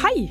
Hei,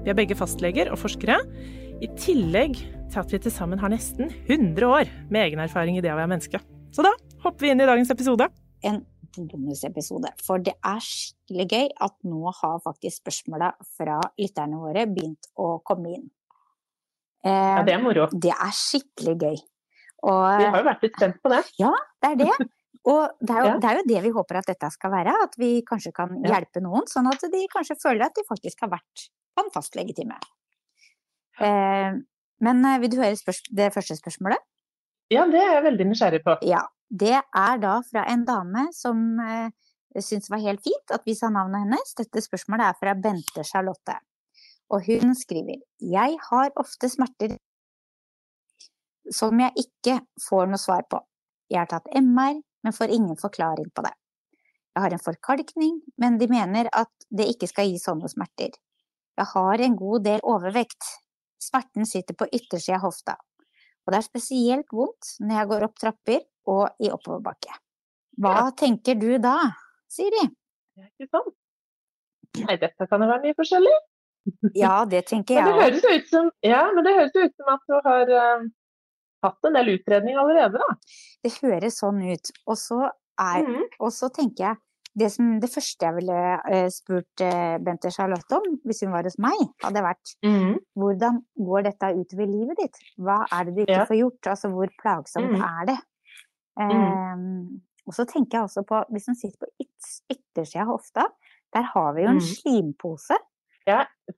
Vi er begge fastleger og forskere, i tillegg til at vi til sammen har nesten 100 år med egen erfaring i det å være menneske. Så da hopper vi inn i dagens episode. En bonusepisode, for det er skikkelig gøy at nå har faktisk spørsmåla fra lytterne våre begynt å komme inn. Eh, er moro. det er skikkelig gøy. Og, jo vært litt spent på det. Det er det. Og det er, jo, Ja. det er jo det vi håper at dette skal være, at vi kanskje kan Ja. hjelpe noen, sånn at de kanskje føler at de faktisk har vært på en fastlegetime. Eh, men eh, vil du høre spørs det første spørsmålet? Ja, det er jeg veldig nysgjerrig på. Ja. Det er da fra en dame som eh, syntes det var helt fint at vi sa navnet hennes. Dette spørsmålet er fra Bente Charlotte. Og hun skriver Jeg har ofte smerter som jeg ikke får noe svar på. Jeg har tatt MR, men får ingen forklaring på det. Jeg har en forkalkning, men de mener at det ikke skal gi sånne smerter. Jeg har en god del overvekt. Smerten sitter på yttersida av hofta. Og det er spesielt vondt når jeg går opp trapper og i oppoverbakke. Hva tenker du da, Siri? Det er ikke sånn. Nei, dette kan jo være mye forskjellig. Ja, det tenker Men jeg det òg. høres jo ut som, ja, men det høres jo ut som at du har eh, hatt en del utredning allerede, da. Det høres sånn ut. Og så, er, Mhm. og så tenker jeg det, som, det første jeg ville eh, spurt eh, Bente Charlotte om, hvis hun var hos meg, hadde vært hvordan går dette utover livet ditt? Hva er det du ikke Ja. Mm. får gjort? Altså hvor plagsomt Mhm. er det? Ehm, og så tenker jeg også på, hvis hun sitter på yts- yttersida av hofta, der har vi jo en Mhm. slimpose.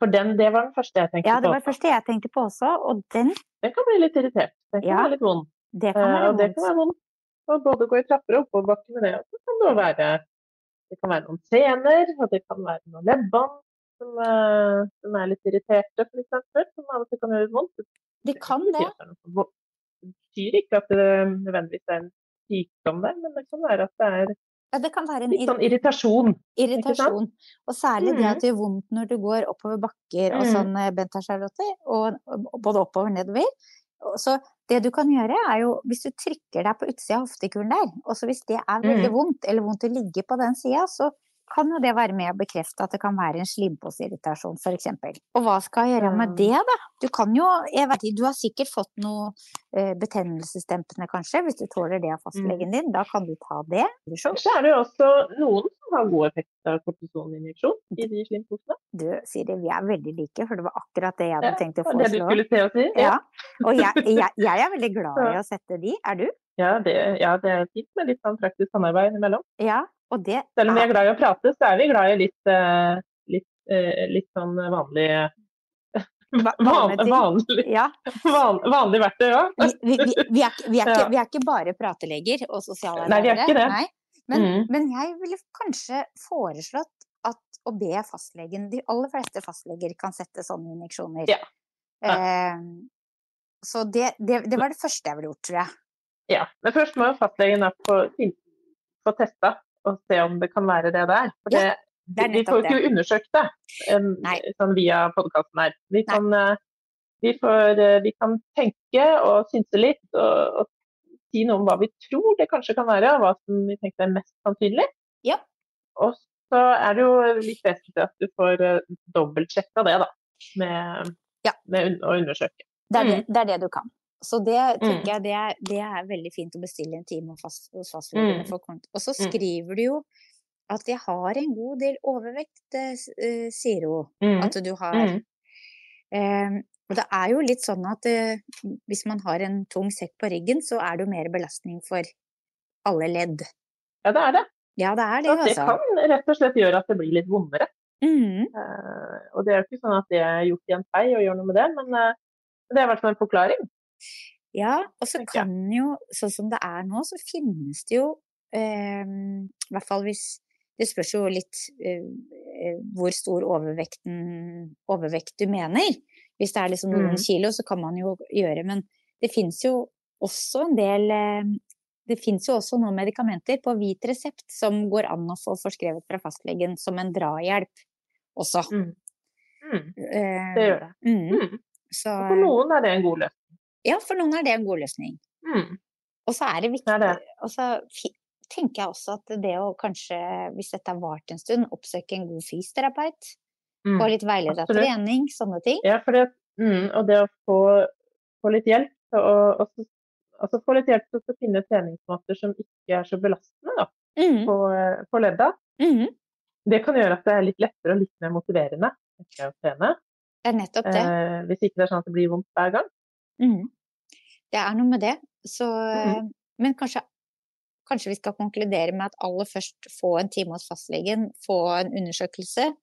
For den, det var den første jeg tenkte Ja, det var på. det første jeg tenkte på også, og den, Den kan bli litt irritert. Den kan Ja, være litt vond. det Eh, kan være og det kan vondt. være vondt. Å både gå i trapper og oppoverbakke med det. Og så kan det jo være det kan være noen sener, og det kan være noen leddbånd som, eh, som er litt irriterte, for eksempel, Som av og til kan gjøre vondt. Det kan ikke det. betyr at det er noe vo- Det betyr ikke at det nødvendigvis er en sykdom der, men det kan være at det er Ja, det kan være en litt irritasjon. sånn Irritasjon. irritasjon. Og særlig det Mhm. at det gjør vondt når du går oppover bakker og Mhm. sånn, eh, Benta Charlotte, og og både oppover og nedover. Og Så det du kan gjøre, er jo hvis du trykker deg på utsida av hoftekulen der, og så hvis det er veldig Mhm. vondt, eller vondt å ligge på den sida, så kan jo det være med å bekrefte at det kan være en slimposeirritasjon, f.eks. Og hva skal jeg gjøre med Mm. det, da? Du kan jo, jeg vet ikke, du har sikkert fått noe eh, betennelsesdempende, kanskje, hvis du tåler det av fastlegen din. Da kan du ta det. Eller så Så er det jo også noen som har god effekt av kortisoninjeksjon i de slimposene. du, Siri, vi er veldig like, for det var akkurat det jeg Ja, hadde tenkt å Det var det du foreslå. skulle til å si? Ja, og jeg, jeg, jeg er veldig glad i å sette de, er du? Ja, det, ja, det er fint med litt sånn praktisk samarbeid innimellom. Ja, og det Selv om vi er, er glad i å prate, så er vi glad i litt, eh, litt, eh, litt sånn vanlig Va- van, vanlige ting. vanlig, ja, van, vanlig verktøy òg. vi, vi, vi, vi, er, ikke- vi, er ikke, Ja. vi er ikke bare prateleger og Nei, vi er ikke sosialarbeidere. det. Nei, men, men jeg ville kanskje foreslått at å be fastlegen De aller fleste fastleger kan sette sånne injeksjoner. Ja. Ja. Eh, så det, det, det var det første jeg ville gjort, tror jeg. Ja. Men først må jo fastlegen da få, til- få testa og se om det kan være det der. For Ja, det, Det er vi får nettopp jo det. ikke undersøkt det em, Nei. sånn via podkasten her. Vi kan, eh, vi, får, eh, vi kan tenke og synse litt og, og si noe om hva vi tror det kanskje kan være, og hva som vi tenker er mest sannsynlig. Ja. Og så er det jo litt vesentlig at du får eh, dobbeltsjekka det, da. Med, Ja. med un å undersøke. Det er det, det er det du kan. Så det tenker jeg det er, det er veldig fint å bestille en time fast, hos fastlegen. Mm. for kont- Og så Mm. skriver du jo Mm. at jeg har en god del overvekt, eh, s- eh, sier hun. At du har Mm. Eh, og det er jo litt sånn at eh, hvis man har en tung sekk på ryggen, så er det jo mer belastning for alle ledd. Ja, det er det. Ja, det er det, Så at det altså. kan rett og slett gjøre at det blir litt vondere. Mhm. Eh, og det er jo ikke sånn at det er gjort i en fei og gjør noe med det, men eh, det er i hvert fall en forklaring. Ja, og så tenker jeg. kan jo, sånn som det er nå, så finnes det jo eh, I hvert fall hvis Det spørs jo litt eh, eh, hvor stor overvekten, overvekt du mener. Hvis det er liksom noen Mhm. kilo, så kan man jo gjøre Men det fins jo også en del eh, Det fins jo også noen medikamenter på hvit resept som går an å få forskrevet fra fastlegen som en drahjelp også. Mm, Eh, det gjør det. mhm, Mm. så, Og for noen er det en god løsning. ja, for noen er det en god løsning. Mm. Og så er det viktig Det er det. Og så fi- tenker jeg også at det å kanskje, hvis dette har vart en stund, oppsøke en god fysioterapeut. Mm. Få litt veiledet absolutt. trening, sånne ting. Ja, for det, mm, og det å få, få litt hjelp til å og så- altså få litt hjelp til å finne treningsmåter som ikke er så belastende da, Mhm, på, eh, på ledda, mhm. det kan gjøre at det er litt lettere og litt mer motiverende tenker jeg, å trene. Det er nettopp det. Eh, hvis ikke det er sånn at det blir vondt hver gang. Eh. Mhm. Det er noe med det. Så, Mhm. eh, men kanskje, kanskje vi skal konkludere med at aller først få en time hos fastlegen, få en undersøkelse.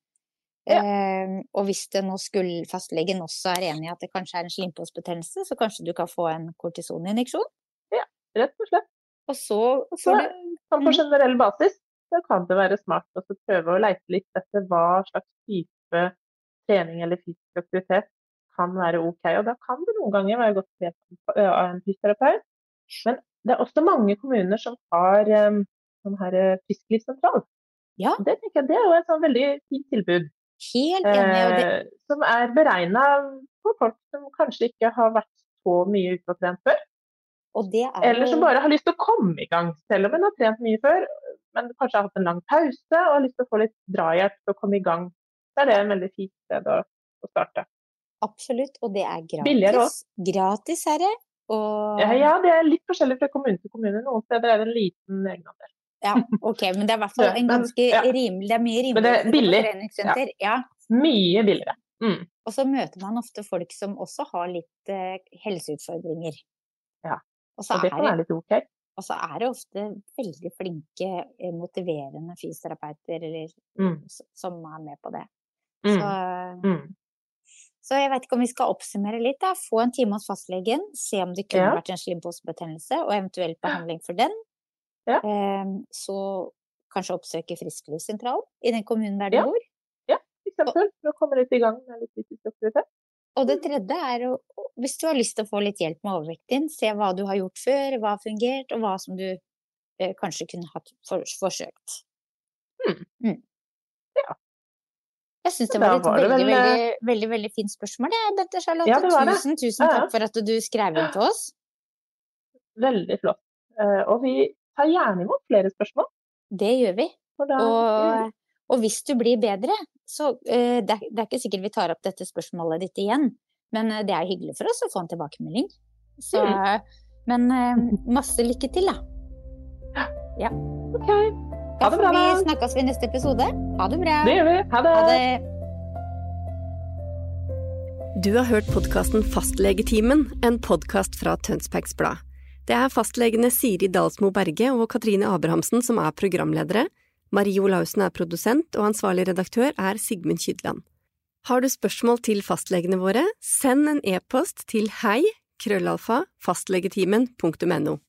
Ja. Eh, og hvis det nå skulle fastlegen også er enig i at det kanskje er en slimposbetennelse, så kanskje du kan få en kortisoninjeksjon. Rett og slett. Og så Så, får du sånn på Mm. generell basis så kan det være smart å så prøve å leite litt etter hva slags type trening eller fysisk aktivitet kan være ok. Og da kan det noen ganger være godt å be om- ø, av en fysioterapeut. Men det er også mange kommuner som har em, sånn her eh, frisklivssentral. Ja. Og Det, tenker jeg, det er jo et sånn veldig fint tilbud. Helt enig. Og det, eh, som er beregna for folk som kanskje ikke har vært så mye ute og trent før. og det er Eller jo- som bare har lyst til å komme i gang, selv om en har trent mye før, men kanskje har hatt en lang pause og har lyst til å få litt drahjelp til å komme i gang. Da er det en veldig fint sted å, å starte. Absolutt. Og det er gratis. Billigere Gratis, herre. Og Ja, ja, det er litt forskjellig fra kommune til kommune. Noen steder er det en liten egenandel. Ja, ok, men det er i hvert fall Ja, en men- ganske ja. rimelig Det er mye rimeligere Men det er å gå på billig. treningssenter. Ja. Mye billigere. Mm. Og så møter man ofte folk som også har litt eh, helseutfordringer. Ja, Og så, Og det kan er være det, litt ok. og så er det ofte veldig flinke, eh, motiverende fysioterapeuter eller, Mm. s- som er med på det. Mm. Så, Mm. Så jeg vet ikke om vi skal oppsummere litt. Da. Få en time hos fastlegen, se om det kunne Ja. vært en slimposebetennelse, og eventuell behandling for den. Ja. Ehm, så kanskje oppsøke frisklivssentralen i den kommunen der du Ja. bor. For eksempel for å komme litt i gang med litt fysisk aktivitet. Og Mm. det tredje er å, å- hvis du har lyst til å få litt hjelp med overvekten din, se hva du har gjort før, hva har fungert, og hva som du eh, kanskje kunne hatt for, forsøkt. Mm. Mm. Ja. Jeg syns det Da var et var det veldig, vel, eh, veldig, veldig, veldig fint spørsmål, det, Bente Charlotte. Ja, det var det. tusen, tusen Ja, ja. takk for at du skrev inn til oss. Veldig flott. Eh, og vi tar gjerne imot flere spørsmål. Det gjør vi. for da- Og, og hvis du blir bedre, så eh, det, er, det er ikke sikkert vi tar opp dette spørsmålet ditt igjen, men eh, det er hyggelig for oss å få en tilbakemelding. Så, Mm. Men eh, masse lykke til, da. OK, Ha det bra, Vi da. snakkes vi i neste episode. Ha det bra. det gjør vi. Ha det. Du har hørt podkasten Fastlegetimen, en podkast fra Tønsbergs Blad. Det er fastlegene Siri Dalsmo Berge og Katrine Abrahamsen som er programledere. Marie Olaussen er produsent, og ansvarlig redaktør er Sigmund Kydland. Har du spørsmål til fastlegene våre, send en e-post til hei krøllalfa fastlegetimen.no.